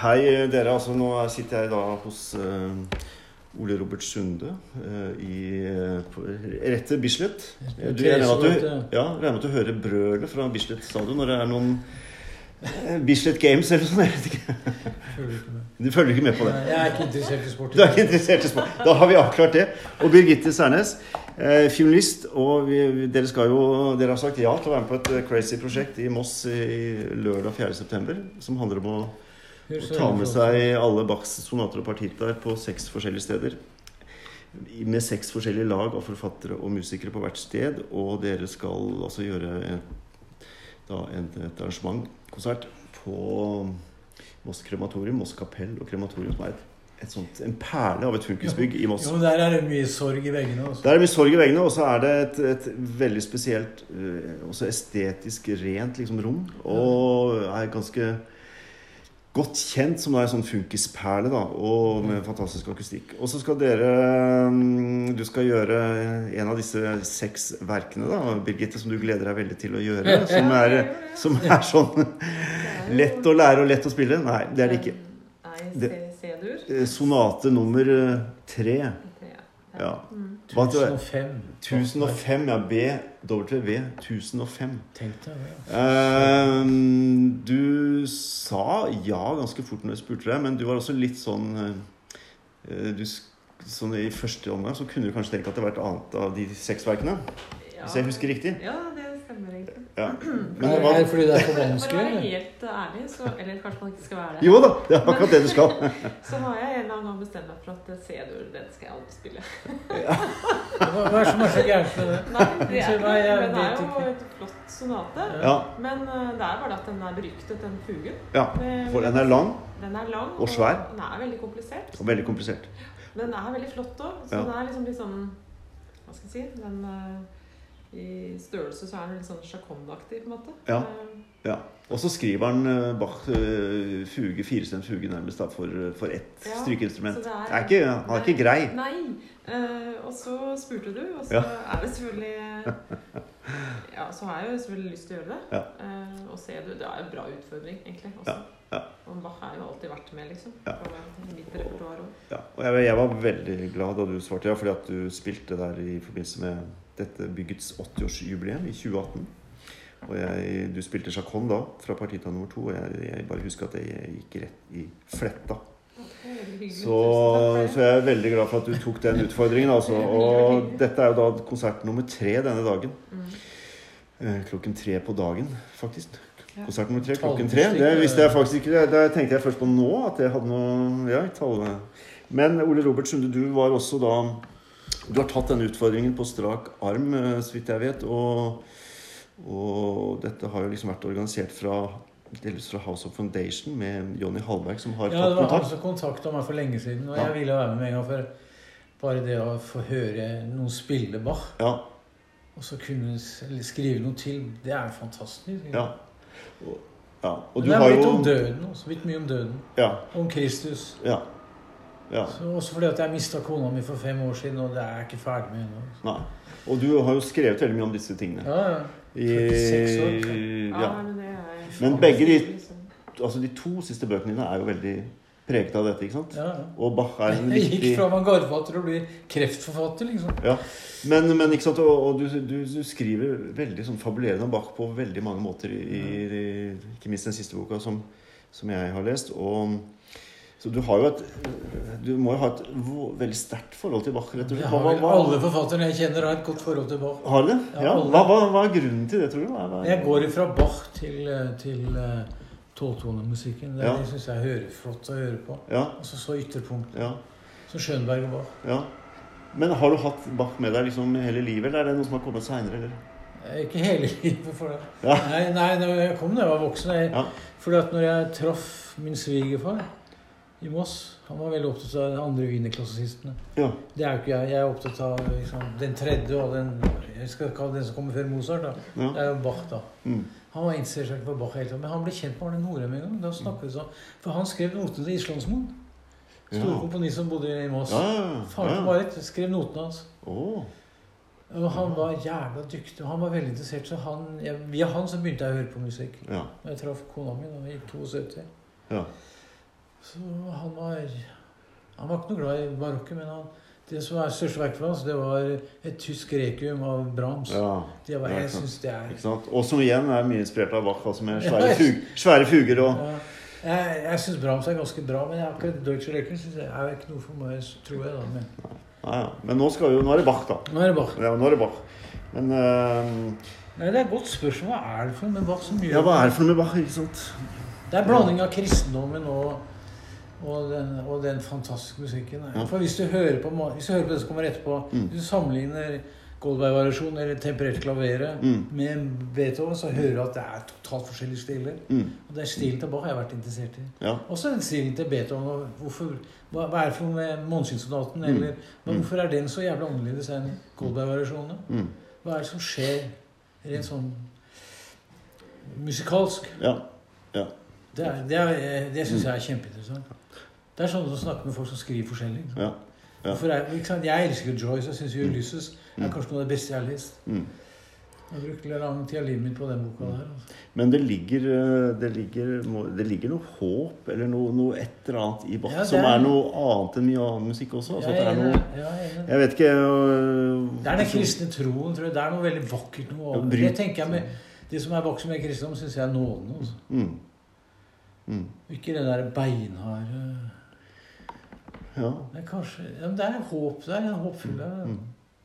Hei, dere. Altså, nå sitter jeg da hos eh, Ole Robert Sunde eh, i, på, rett til Bislett. Du, jeg regner med at du, ja, regner med at du hører brølet fra Bislett stadion når det er noen eh, Bislett Games eller sånn. Jeg vet ikke. Følger ikke med. Du følger ikke med på det? Nei, Jeg er ikke interessert i sport. Du er ikke interessert i sport. Da har vi avklart det. Og Birgitte Særnes, eh, filmlist. Og vi, vi- dere, skal jo, dere har sagt ja til å være med på et eh, crazy prosjekt i Moss i lørdag 4.9. Som handler om å, å Hus- ta med seg alle Bachs sonater og partitaer på seks forskjellige steder. I- Med seks forskjellige lag av forfattere og musikere på hvert sted. Og dere skal altså gjøre en, da en, et arrangement, konsert, på Moss krematorium, Moss kapell og krematorium, som er et, et sånt, en perle av et funkisbygg i Moss. Jo, men der er det mye sorg i veggene. altså. Også. Det er mye sorg i veggene, og så er det et, et veldig spesielt, eh, også estetisk rent liksom, rom. Og er ganske godt kjent som da en sånn funkisperle, da, og med fantastisk akustikk. Og så skal dere mm, Du skal gjøre en av disse seks verkene, da, Birgitte, som du gleder deg veldig til å gjøre. Som er, som er sånn lett å lære og lett å spille. Nei, det er det ikke. Nei, Det- C- C-dur. Eh, Sonate nummer eh, tre. Ja. Ja. Mm. Hva tror jeg? 1005. 1005, ja. BWV 1005. Tenk deg det. ja. Ehm, du sa ja ganske fort når jeg spurte deg, men du var også litt sånn eh, du, sk- Sånn I første omgang så kunne du kanskje tenke at det var et annet av de seks verkene. Ja. Hvis jeg husker riktig. Ja, det stemmer egentlig. Ja. Men det Er, er var, det fordi det er for For å vanskelig? være eller? helt ærlig, så, eller kanskje man ikke skal være det, jo da, det er akkurat det du skal. så har jeg en eller annen gang bestemt meg for at C-dur, den skal jeg alltid spille. Hva hva er det som er så gærent med det? Nei, Så det er, ikke, nei, jeg den vet er jo ikke. et flott sonate. Ja, Men eh, det er bare det at den er beryktet, den fugen. ja. Det- For den er lang Den er lang. Og svær. Den er veldig komplisert. og veldig komplisert. Men den er veldig flott òg. Så Ja. den er liksom litt sånn Hva skal jeg si den, eh, I størrelse så er den litt sånn sjakondeaktig, på en måte. Ja. Eh, Ja. Og så skriver han eh, Bach eh, fuge, firestemt fuge nærmest da, for, eh, for ett Ja, strykeinstrument. så det Det er- er ikke, han er ikke grei. Nei. eh, og så spurte du, og så Ja. er det selvfølgelig eh, Ja, så har jeg jo selvfølgelig lyst til å gjøre det. Ja. Eh, og se, du, det er en bra utfordring, egentlig. Også. Ja, ja. Og Bach har jo alltid vært med, liksom. Ja. På mitt repertoar også. Ja, og jeg, jeg var veldig glad da du svarte ja, fordi at du spilte der i forbindelse med dette byggets 80-årsjubileum i 2018. Og jeg, du spilte sjakon da, fra partita nummer to, og jeg, jeg bare husker at jeg gikk rett i fletta. Det er veldig hyggelig. Så, Tusen takk for så det. jeg er veldig glad for at du tok den utfordringen, altså. Og dette er jo da konsert nummer tre denne dagen. Mm. Eh, Klokken tre på dagen, faktisk. Ja. Konsert nummer tre klokken tre. Tallbestikk, Det visste jeg eh. faktisk ikke. Det- Det tenkte jeg først på nå, at jeg hadde noe Ja, tallene. Men Ole Robert Sunde, du var også da Du har tatt denne utfordringen på strak arm, eh, så vidt jeg vet. Og, og dette har jo liksom vært organisert fra delvis fra House of Foundation med Jonny Hallberg, som har Ja, tatt det var han kontakt. som kontakta meg for lenge siden, og Ja. jeg ville være med med en gang. For bare det å få høre noen spille Bach, Ja, og så kunne s- eller skrive noe til, det er jo fantastisk. ja. Og, ja. og Men du det har er blitt om jo døden også. Blitt mye om døden. Ja. Om Kristus. ja, ja. Så også fordi at jeg mista kona mi for fem år siden, og det er jeg ikke ferdig med ennå. Nei. Og du har jo skrevet veldig mye om disse tingene. Ja, ja. 46 I, Ja, ja. men det er Men begge de- Liksom. altså de to siste bøkene dine er jo veldig preget av dette, ikke sant? ja, ja. Og Bach er en Jeg gikk viktig fra å være garvfatter og bli kreftforfatter, liksom. ja. men, men ikke sant, og, og du, du, du skriver veldig sånn fabulerende om Bach på veldig mange måter, i, i, ikke minst den siste boka som, som jeg har lest. Og, så du har jo et Du må jo ha et vo- veldig sterkt forhold til Bach, rett og Jeg slett. har Hva- vel hva- alle forfatterne jeg kjenner, har et godt forhold til Bach. Har du det? Ja, Ja. alle. Hva, hva, hva er grunnen til det, tror du? Hva, hva, Jeg går ifra Bach til, eh, til eh, tolvtonemusikken. Det, Ja. det syns jeg hører flott å høre på. Ja, Og så så ytterpunkt. ja, Så Schönberg og Bach. ja. Men har du hatt Bach med deg liksom hele livet, eller er det noe som har kommet seinere, eller? Eh, Ikke hele livet for det. Ja. Nei, nei, når jeg kom da jeg var voksen. Jeg, Ja. Fordi at når jeg traff min svigerfar i Moss Han var veldig opptatt av de andre wienerklassisistene. Ja. Det er jo ikke jeg. Jeg er opptatt av liksom, den tredje og den Jeg skal ikke ha den som kommer før Mozart. da. ja. Det er jo Bach, da. Mm. Han var interessert i Bach hele tiden, men han ble kjent med Arne Norheim en gang. Da snakket vi sånn. For han skrev notene til Islandsmoen. Store Ja. komponist som bodde i Moss. Ja, ja, Faren til ja. Marit skrev notene hans. Å, Og han var jævla dyktig, og han var veldig interessert. Så han, jeg, via han så begynte jeg å høre på musikk. ja. Jeg traff kona mi da i 72. Ja. Så han var Han var ikke noe glad i barokket, men han, det som er største verk for hans, det var et tysk requiem av Brahms. ja. Det var, Ja, jeg ikke sant. syns det er Ikke sant? Og som igjen er mye inspirert av Bach, altså med svære, Ja. fug svære fuger og Ja. Jeg, jeg syns Brahms er ganske bra, men jeg har ikke Deutsche Requiem. synes jeg er ikke noe for meg, tror jeg. da. Men ja, ja. Men nå, skal jo, nå er det Bach, da. nå er det Bach. Ja, nå er det Bach. Men eh, Nei, det er et godt spørsmål. Hva er det for noe med Bach som gjør ja, hva er det for noe med Bach? ikke sant? Det er blanding av kristendommen og, og, den, og den fantastiske musikken. Ja. For hvis du hører på, ma- hvis du hører på det som kommer etterpå, Mm. hvis du sammenligner Goldberg-variasjonen eller temperert klaveret Mm. med Beethoven, så hører du at det er totalt forskjellige stiler. Mm. Og den stilen til Bach har jeg vært interessert i. Ja. Også den stilen til Beethoven. Og hvorfor, hva, hva er det for noe med Måneskinnsonaten? Mm. Eller men Mm. hvorfor er den så jævlig annerledes enn Goldberg-variasjonene? Mm. Hva er det som skjer rent sånn musikalsk? ja. Det, er- det, er- eh, det syns jeg er kjempeinteressant. Det er sånn å snakke med folk som skriver forskjellig. Liksom. Ja. Ja. Hvorfor er, ikke sant? Jeg elsker jo Joyce og syns Ulysses er Mm. kanskje noe av det beste jeg har lest. Mm. Jeg har brukt lang tid av livet mitt på den boka der. Altså. Men det ligger, eh, det, ligger, må- det ligger noe håp eller noe, noe et eller annet i Bach Ja, det som er- er noe annet enn mye annen musikk også. Altså, Jeg at det, er enig i noe, det. Ja, jeg er enig i det. jeg vet ikke øh, Det er den kristne troen, tror jeg. Det er noe veldig vakkert noe over Ja, det. bryt- tenker jeg med Det som er vakkert med kristendom, syns jeg er nåden. Altså. mm. Mm. Ikke den der beinharde Ja. Det er kanskje ja, men Det er en håp der. En håpfull der. Mm.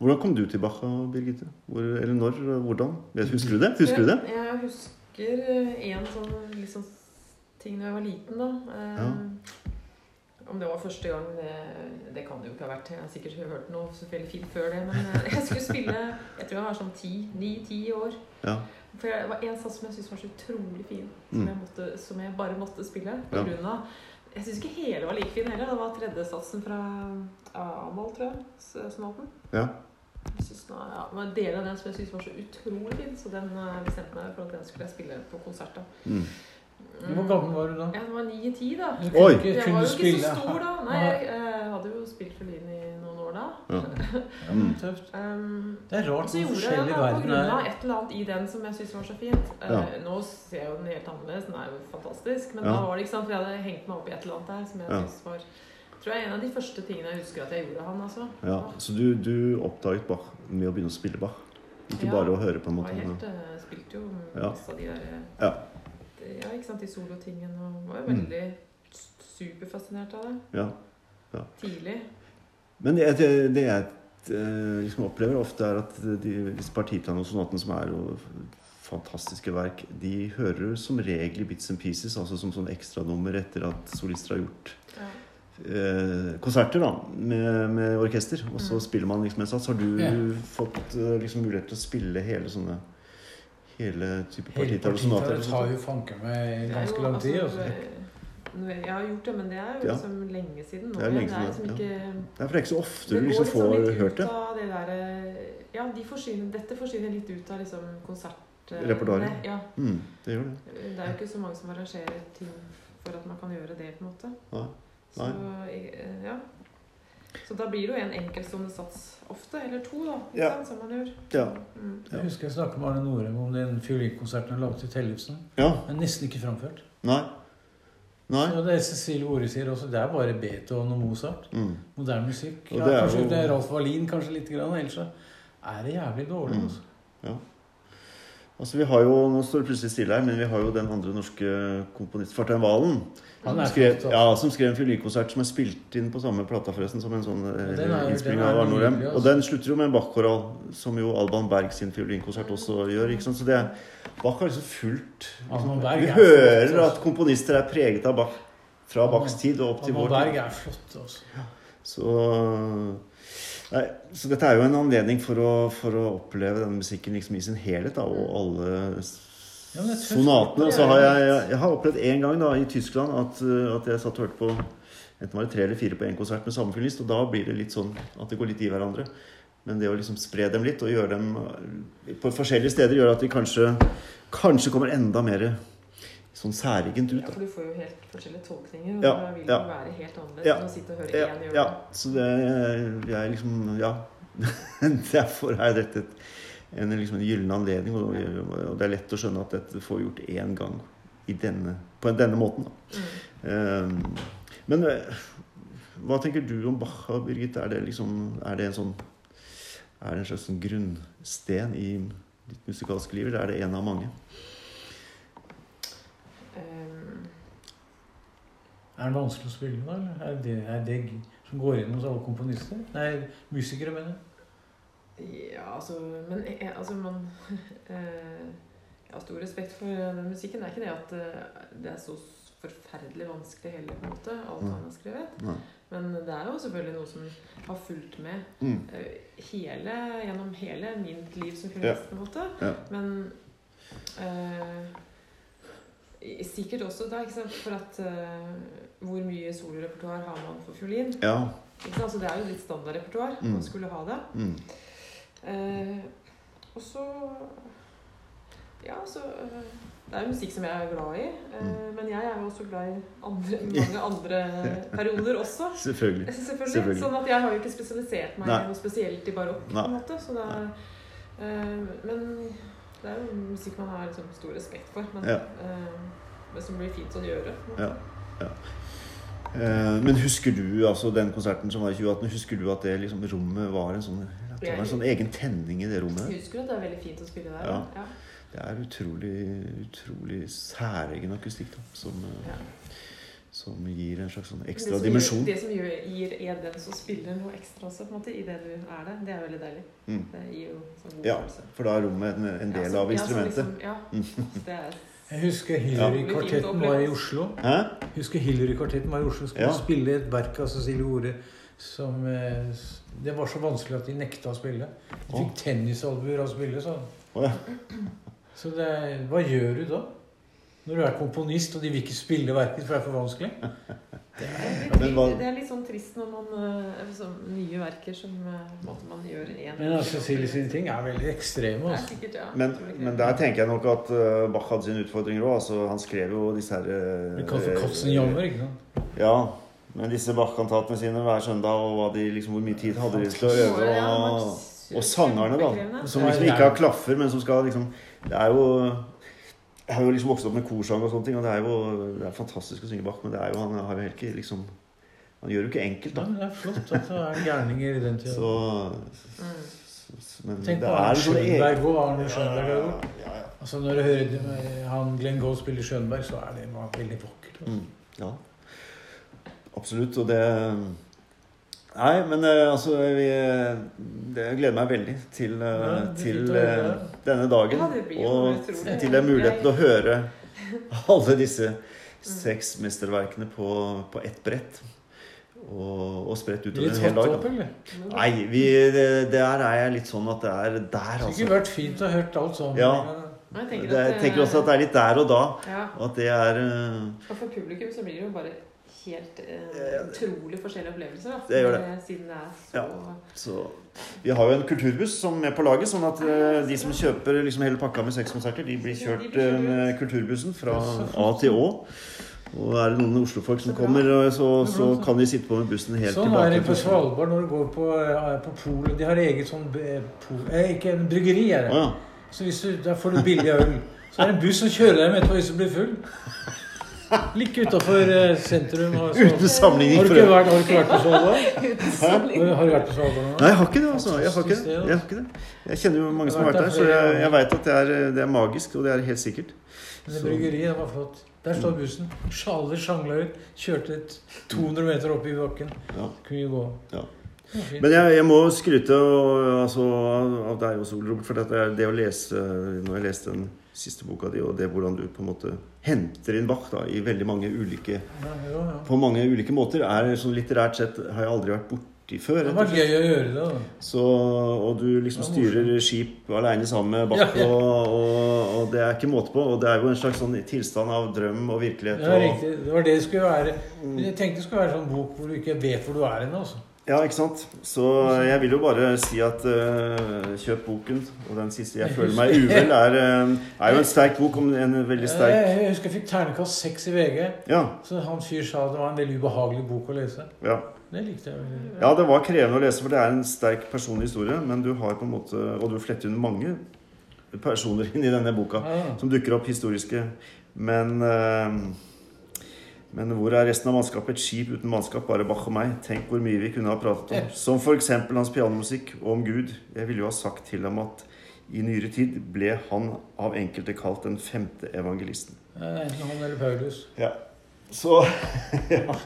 Hvordan kom du til Bach, Birgitte? Hvor, eller når? og Hvordan? Vet- Husker du det? Husker du det? Jeg, jeg husker eh, en sånn liksom, ting da jeg var liten, da. Eh, Om det var første gang det, det kan det jo ikke ha vært. Jeg har sikkert hørt noe så veldig fint før det. Men eh, jeg skulle spille Jeg tror jeg var sånn ti, ni-ti år. Ja. For jeg- det var en sats som jeg syntes var så utrolig fin, Mm. som, jeg måtte, som jeg bare måtte spille. På Ja. grunn av, jeg syns ikke hele var like fin heller. Det var tredje satsen fra Amal, tror jeg. s- Sonaten. Ja. Jeg synes den var- ja, det var en del av den som jeg syntes var så utrolig fin, så den eh, bestemte meg for at den skulle jeg spille på konsert. da. Mm. Mm. Du, Hvor gammel var du da? Ja, den var 9-10, da. Du Oi. ikke- Jeg du var jo ikke så spille- stor da. Nei, Nei. jeg eh, hadde jo spilt fiolin i noen år da. Ja. Ja, Mm. men tøft. Um, Det er rart så hvor gjorde jeg det forskjellig da, på verden grunn av er. et eller annet i den som jeg syntes var så fint. Eh, Ja. Nå ser jeg jo den helt annerledes, den er jo fantastisk. Men Ja. da var det ikke sant, for jeg hadde hengt meg opp i et eller annet der som jeg Ja. syntes var Tror jeg er en av de første tingene jeg husker at jeg gjorde han, altså. ja. Så du, du oppdaget Bach med å begynne å spille Bach? Ikke Ja. bare å høre, på en Jeg måte? var helt, eh, spilte jo Ja. masse av de der eh, Ja. de- ja, ikke sant, de solotingene og var jo Mm. veldig s- superfascinert av det. Ja. Tidlig. Men det, det, det jeg eh, liksom opplever ofte, er at de, disse partitanene og sonatene, som er jo fantastiske verk, de hører som regel i bits and pieces, altså som sånn ekstranummer etter at solister har gjort Ja. eh, konserter da, med, med orkester. Og så Mm. spiller man liksom en sats. Har du Ja. fått eh, liksom mulighet til å spille hele sånne Hele type Hele partitaer og sonater? partiet eller tar sånt? jo fanken meg Det er ganske jo, lang tid. altså, Altså. nå- Jeg har gjort det, men det er jo Ja. liksom lenge siden. nå. Det er lenge siden, liksom ikke Det er for det er ikke så ofte Det du går liksom får litt ut hørt det. av det der, eh, Ja, de forsvinner, dette forsvinner litt ut av liksom konsert... eh, Repertoaret. Ja. Mm, det gjør det. Det er jo ikke så mange som arrangerer ting for at man kan gjøre det, på en måte. Nei. Så, eh, ja. Så da blir det jo en enkeltstående sats ofte, eller to, da, ikke Ja. sant, som man gjør. Ja. Mm. Jeg husker jeg snakket med Arne Norheim om den fiolinkonserten han laget i Tellefsen. ja. Men nesten ikke framført. Nei. Nei. Og det Cecilie Ore sier også, det er bare Beethoven og Mozart. Mm. Moderne musikk. Og Ja, det er kanskje jo- det er Ralf Wallin kanskje litt, grann, ellers så er det jævlig dårlig. Mm. Altså. Altså vi har jo, Nå står det plutselig stille her, men vi har jo den andre norske komponisten, Fartein Valen, Han som er skrev, flott, altså. ja, som skrev en fiolinkonsert som er spilt inn på samme plata forresten, som en sånn eh, Ja, den er- innspilling den er av Arne Norheim. nydelig, altså. Og den slutter jo med en Bach-koral, som jo Alban Berg sin fiolinkonsert også gjør. ikke sant? Så det er, Bach har liksom fullt Alban liksom, Berg Vi er flott, hører altså. at komponister er preget av Bach fra Alban- Bachs tid og opp til Amman vår tid. Berg er flott. Altså. Så, nei, så dette er jo en anledning for å, for å oppleve denne musikken liksom i sin helhet, da, og alle s- Ja, men det er tøft. sonatene. Og så har Det er jeg, jeg, jeg har opplevd en gang da, i Tyskland at, uh, at jeg satt og hørte på enten var det tre eller fire på én konsert med samme fiolinist, og da blir det litt sånn at det går litt i hverandre. Men det å liksom spre dem litt og gjøre dem uh, på forskjellige steder, gjør at de kanskje, kanskje kommer enda mer sånn særegent Ja, ut. Da. for du får jo helt forskjellige tolkninger, og Ja, da vil det ja. jo være helt annerledes Ja, enn å sitte og høre Ja, én gjøre ja, det. så det jeg liksom Ja. Derfor er dette et, en, liksom en gyllen anledning, og, og det er lett å skjønne at dette får vi gjort én gang i denne, på denne måten. Da. Mm. Eh, Men eh, hva tenker du om Bach, Birgitte? Er det, liksom, er det en sånn Er det en slags sånn grunnsten i ditt musikalske liv, eller er det en av mange? Ehm, Er den vanskelig å spille, da? eller? Er det, er det g- som går inn hos alle komponister? Nei, musikere, mener jeg. Ja, altså Men jeg- jeg- altså, man eh, Jeg har stor respekt for eh, den musikken. Det er ikke det at eh, det er så s- forferdelig vanskelig heller, på en måte, alt Nei. han har skrevet. Nei. Men det er jo selvfølgelig noe som har fulgt med Mm. eh, hele, gjennom hele mitt liv som Ja. pianist, på en måte. Ja. Men eh, i- sikkert også da, ikke sant, for at eh, hvor mye solorepertoar har man for fiolin? Ja. Ikke sant? Så det er jo litt standardrepertoar Mm. man skulle ha det. Mm. Eh, og så Ja, så eh, Det er jo musikk som jeg er glad i. Eh, Mm. Men jeg er jo også glad i andre, mange andre perioder også. Selvfølgelig. Selvfølgelig. Selvfølgelig. Sånn at jeg har jo ikke spesialisert meg Nei. noe spesielt i barokk. på Nei. en måte, så det er, eh, Men det er jo musikk man har liksom stor respekt for. Men, Ja. eh, men som blir fint å gjøre. Ja. Eh, Men husker du altså den konserten som var i 2018, husker du at det liksom, rommet var en sånn at det var en sånn egen tenning i det rommet? Jeg husker at det er veldig fint å spille der. Ja. Ja. Det er utrolig, utrolig særegen akustikk da, som, eh, Ja. som gir en slags sånn Det ekstra som dimensjon. Gjør, det som gjør, gir er den som spiller noe ekstra også, på en måte, i det du er det. Det er veldig deilig. Mm. Det gir jo en sånn god Ja, følelse. for da er rommet en, en del Ja, så- av instrumentet. Ja, så liksom, ja. det er Jeg husker Ja. Hillary-kvartetten var i Oslo. Hæ? husker Hillary-kvartetten var i Oslo. Skulle Ja. spille et verk av Cecilie Ore som eh, s- Det var så vanskelig at de nekta å spille. De fikk tennisalbuer av å spille, sa de. Å, ja. Så det, er- hva gjør du da? Når du er komponist, og de vil ikke spille verket for det er for vanskelig? det er Men litt, hva- det er litt sånn trist når man eh, sånn nye verker som eh, på en måte man gjør en Men altså, Cecilie sine ting er veldig ekstreme. Det er Altså. sikkert, ja. Men, Tror ikke men det. der tenker jeg nok at eh, Bach hadde sine utfordringer òg. Altså, han skrev jo disse her eh, Det kalles for Katzenjammer, ikke sant? Ja. Men disse Bach-kantatene sine hver søndag, og hva de, liksom, hvor mye tid hadde de til å Må jo øve? det, han var Og, su- og sangerne, da. kjempekrevende. Som liksom ikke har klaffer, men som skal liksom Det er jo Jeg har jo liksom vokst opp med korsang og sånne ting, og det er jo det er fantastisk å synge Bach, men det er jo, han har jo heller ikke liksom Han gjør det jo ikke enkelt, Ja, da. men det er flott at det er gærninger i den tida. Så Mm. Men det Tenk på er Arne en sånn egen Schönberg og Arne Ja, Schönberg. ja, også. ja, ja. Altså, når du hører eh, han Glenn Gold spille Schönberg, så er det bare veldig vakkert. altså. Mm, ja. Absolutt, og det Nei, men eh, altså vi, det, Jeg gleder meg veldig til, eh, Ja, det blir fint til å høre. eh, denne dagen. Ja, det blir jo og utrolig. til den muligheten å høre alle disse seks Mm. mesterverkene på, på ett brett. Og, og spredt Blir utover det en hel tatt dag. opp, Da. eller? Nei, vi, det, der er jeg litt sånn at det er der, Det altså. kunne vært fint å ha hørt alt sånn. Ja. Men jeg tenker Det, jeg tenker også at det er litt der og da. ja, Og at det er eh, Og for publikum så blir det jo bare helt eh, Ja, det- utrolig forskjellige opplevelser. Da. Det gjør det. Siden det er så Ja. Så Vi har jo en kulturbuss som er med på laget, sånn at eh, de som kjøper liksom hele pakka med seks konserter, de blir kjørt eh, med kulturbussen fra A til Å. Og er det noen Oslo-folk som kommer, eh, så, så kan de sitte på med bussen helt Sånn er det tilbake. på til Oslo. Svalbard når du går på, eh, på polet. De har eget sånn eh, pol, eh, Ikke en bryggeri, Å er det. ja. Så hvis du, der får du billig øl. Så er det en buss som kjører deg med etterpå hvis du blir full. Like utafor sentrum. Har, Uten Svalbard. sammenligning har, du for øvrig. ikke vært, har du ikke vært på Svalbard? Eh, og Har du vært på Svalbard nå? Nei, jeg har ikke det. altså. Jeg har ikke det. Jeg, har ikke det. jeg kjenner jo mange som har vært der, så jeg, jeg veit at det er, eh, det er magisk, og det er helt sikkert. Men det bryggeriet det var flott. Der står bussen. Sjaler sjangla ut. Kjørte et 200 meter opp i bakken. Ja. Kunne jo gå. Ja. Det var fint. Men jeg, jeg må skryte og, altså, av deg også, Ole Robert, for det, det å lese Når jeg leste den siste boka di, og det hvordan du på en måte henter inn Bach da, i veldig mange ulike Ja, jo, ja. På mange ulike måter, er sånn litterært sett har jeg aldri vært borti før. Det rett og var slett. gøy å gjøre det. da. Så, og du liksom styrer skip aleine sammen med Bach, Ja, ja. Og, og, og det er ikke måte på. Og det er jo en slags sånn tilstand av drøm og virkelighet. Ja, og, riktig. Det var det det skulle være. Jeg tenkte det skulle være en sånn bok hvor du ikke vet hvor du er hen. Altså. Ja, ikke sant? Så jeg vil jo bare si at eh, kjøp boken. Og den siste jeg føler meg uvel, er, eh, er jo en sterk bok om en veldig sterk Eh, Jeg, jeg husker jeg fikk ternekast seks i VG. Ja. Så han fyr sa det var en veldig ubehagelig bok å lese. Ja, Det likte jeg veldig. ja det var krevende å lese, for det er en sterk personlig historie. Men du har på en måte Og du fletter inn mange personer inn i denne boka Ja. som dukker opp historiske. Men eh, Men hvor er resten av mannskapet? Et skip uten mannskap, bare Bach og meg. Tenk hvor mye vi kunne ha pratet om. Som f.eks. hans pianomusikk og om Gud. Jeg ville jo ha sagt til ham at i nyere tid ble han av enkelte kalt den femte evangelisten. Det er Enten han eller Paulus. Ja. Så ja.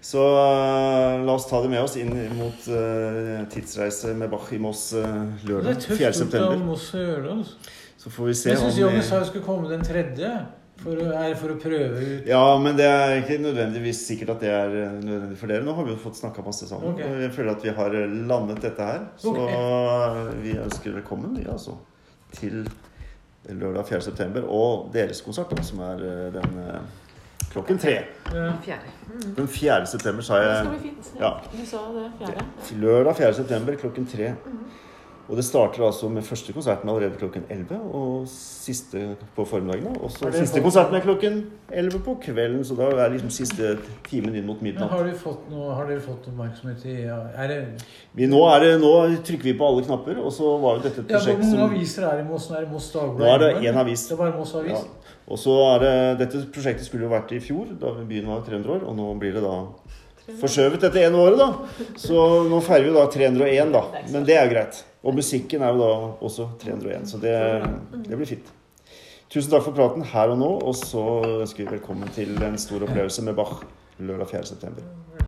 Så eh, la oss ta det med oss inn mot eh, tidsreise med Bach i Moss eh, Det er lørdag 4. tøft gjort av september. Moss å gjøre det. altså. Så får vi se Jeg syns om eh, vi Johnny sa jeg skulle komme den tredje. For å, her for å prøve ut Ja, men det er ikke nødvendigvis sikkert at det er eh, nødvendig for dere. Nå har vi jo fått snakka masse sammen. Ok. Og jeg føler at vi har eh, landet dette her. Så Ok. eh, vi ønsker velkommen, vi, altså. Til lørdag 4. september. Og deres konsert, da, som er eh, den eh, klokken tre. eh, Fjerde. Den 4. september, sa Det jeg. skal bli fint. Eh, Ja. Du sa det fjerde. Lørdag 4. september klokken 3. Og det starter altså med første konserten allerede klokken 11, og siste på formiddagen. da. Og så Er det sånn? siste folk- konserten er klokken 11 på kvelden, så da er liksom siste timen inn mot Men midnatt. har, dere fått noe, har dere fått oppmerksomhet i ja, er det, Vi, nå, er det, nå trykker vi på alle knapper, og så var jo dette et ja, Hvor prosjekt mange som aviser er det i Moss? Nå Er det Moss Dagblad? Nå er det Innlandet? én avis. Det er bare Moss Avis? Ja. Og så er det, Dette prosjektet skulle jo vært i fjor, da byen var 300 år, og nå blir det da forskjøvet dette ene året, da. Så nå feirer vi da 301, da. Men det er jo greit. Og musikken er jo da også 301, så det, det blir fint. Tusen takk for praten her og nå, og så ønsker vi velkommen til en stor opplevelse med Bach lørdag 4. september.